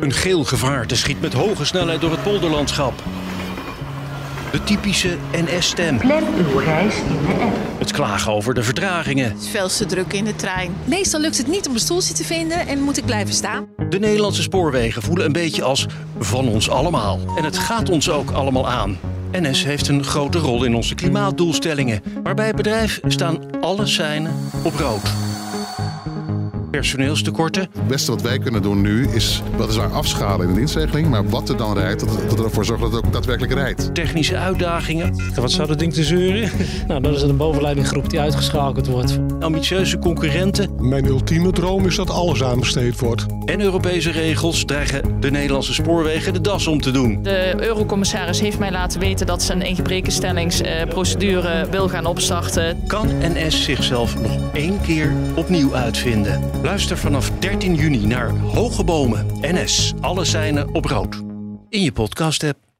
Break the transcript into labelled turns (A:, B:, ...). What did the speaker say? A: Een geel gevaarte schiet met hoge snelheid door het polderlandschap. De typische NS-stem.
B: Plan uw reis in de app.
A: Het klagen over de vertragingen.
C: Het is veel te druk in de trein.
D: Meestal lukt het niet om een stoeltje te vinden en moet ik blijven staan.
A: De Nederlandse spoorwegen voelen een beetje als van ons allemaal. En het gaat ons ook allemaal aan. NS heeft een grote rol in onze klimaatdoelstellingen. Maar bij het bedrijf staan alle seinen op rood. Personeelstekorten,
E: Het beste wat wij kunnen doen nu is weliswaar afschalen in de dienstregeling, maar wat er dan rijdt, dat, dat ervoor zorgt dat het ook daadwerkelijk rijdt.
A: technische uitdagingen,
F: Wat zou dat ding te zeuren? nou, dan is het een bovenleidinggroep die uitgeschakeld wordt.
A: ambitieuze concurrenten
G: Mijn ultieme droom is dat alles aanbesteed wordt.
A: en Europese regels dreigen de Nederlandse spoorwegen de das om te doen.
H: De eurocommissaris heeft mij laten weten dat ze een ingebrekenstellingsprocedure wil gaan opstarten.
A: Kan NS zichzelf nog één keer opnieuw uitvinden? Luister vanaf 13 juni naar Hoge Bomen, NS, alle seinen op rood. In je podcast-app.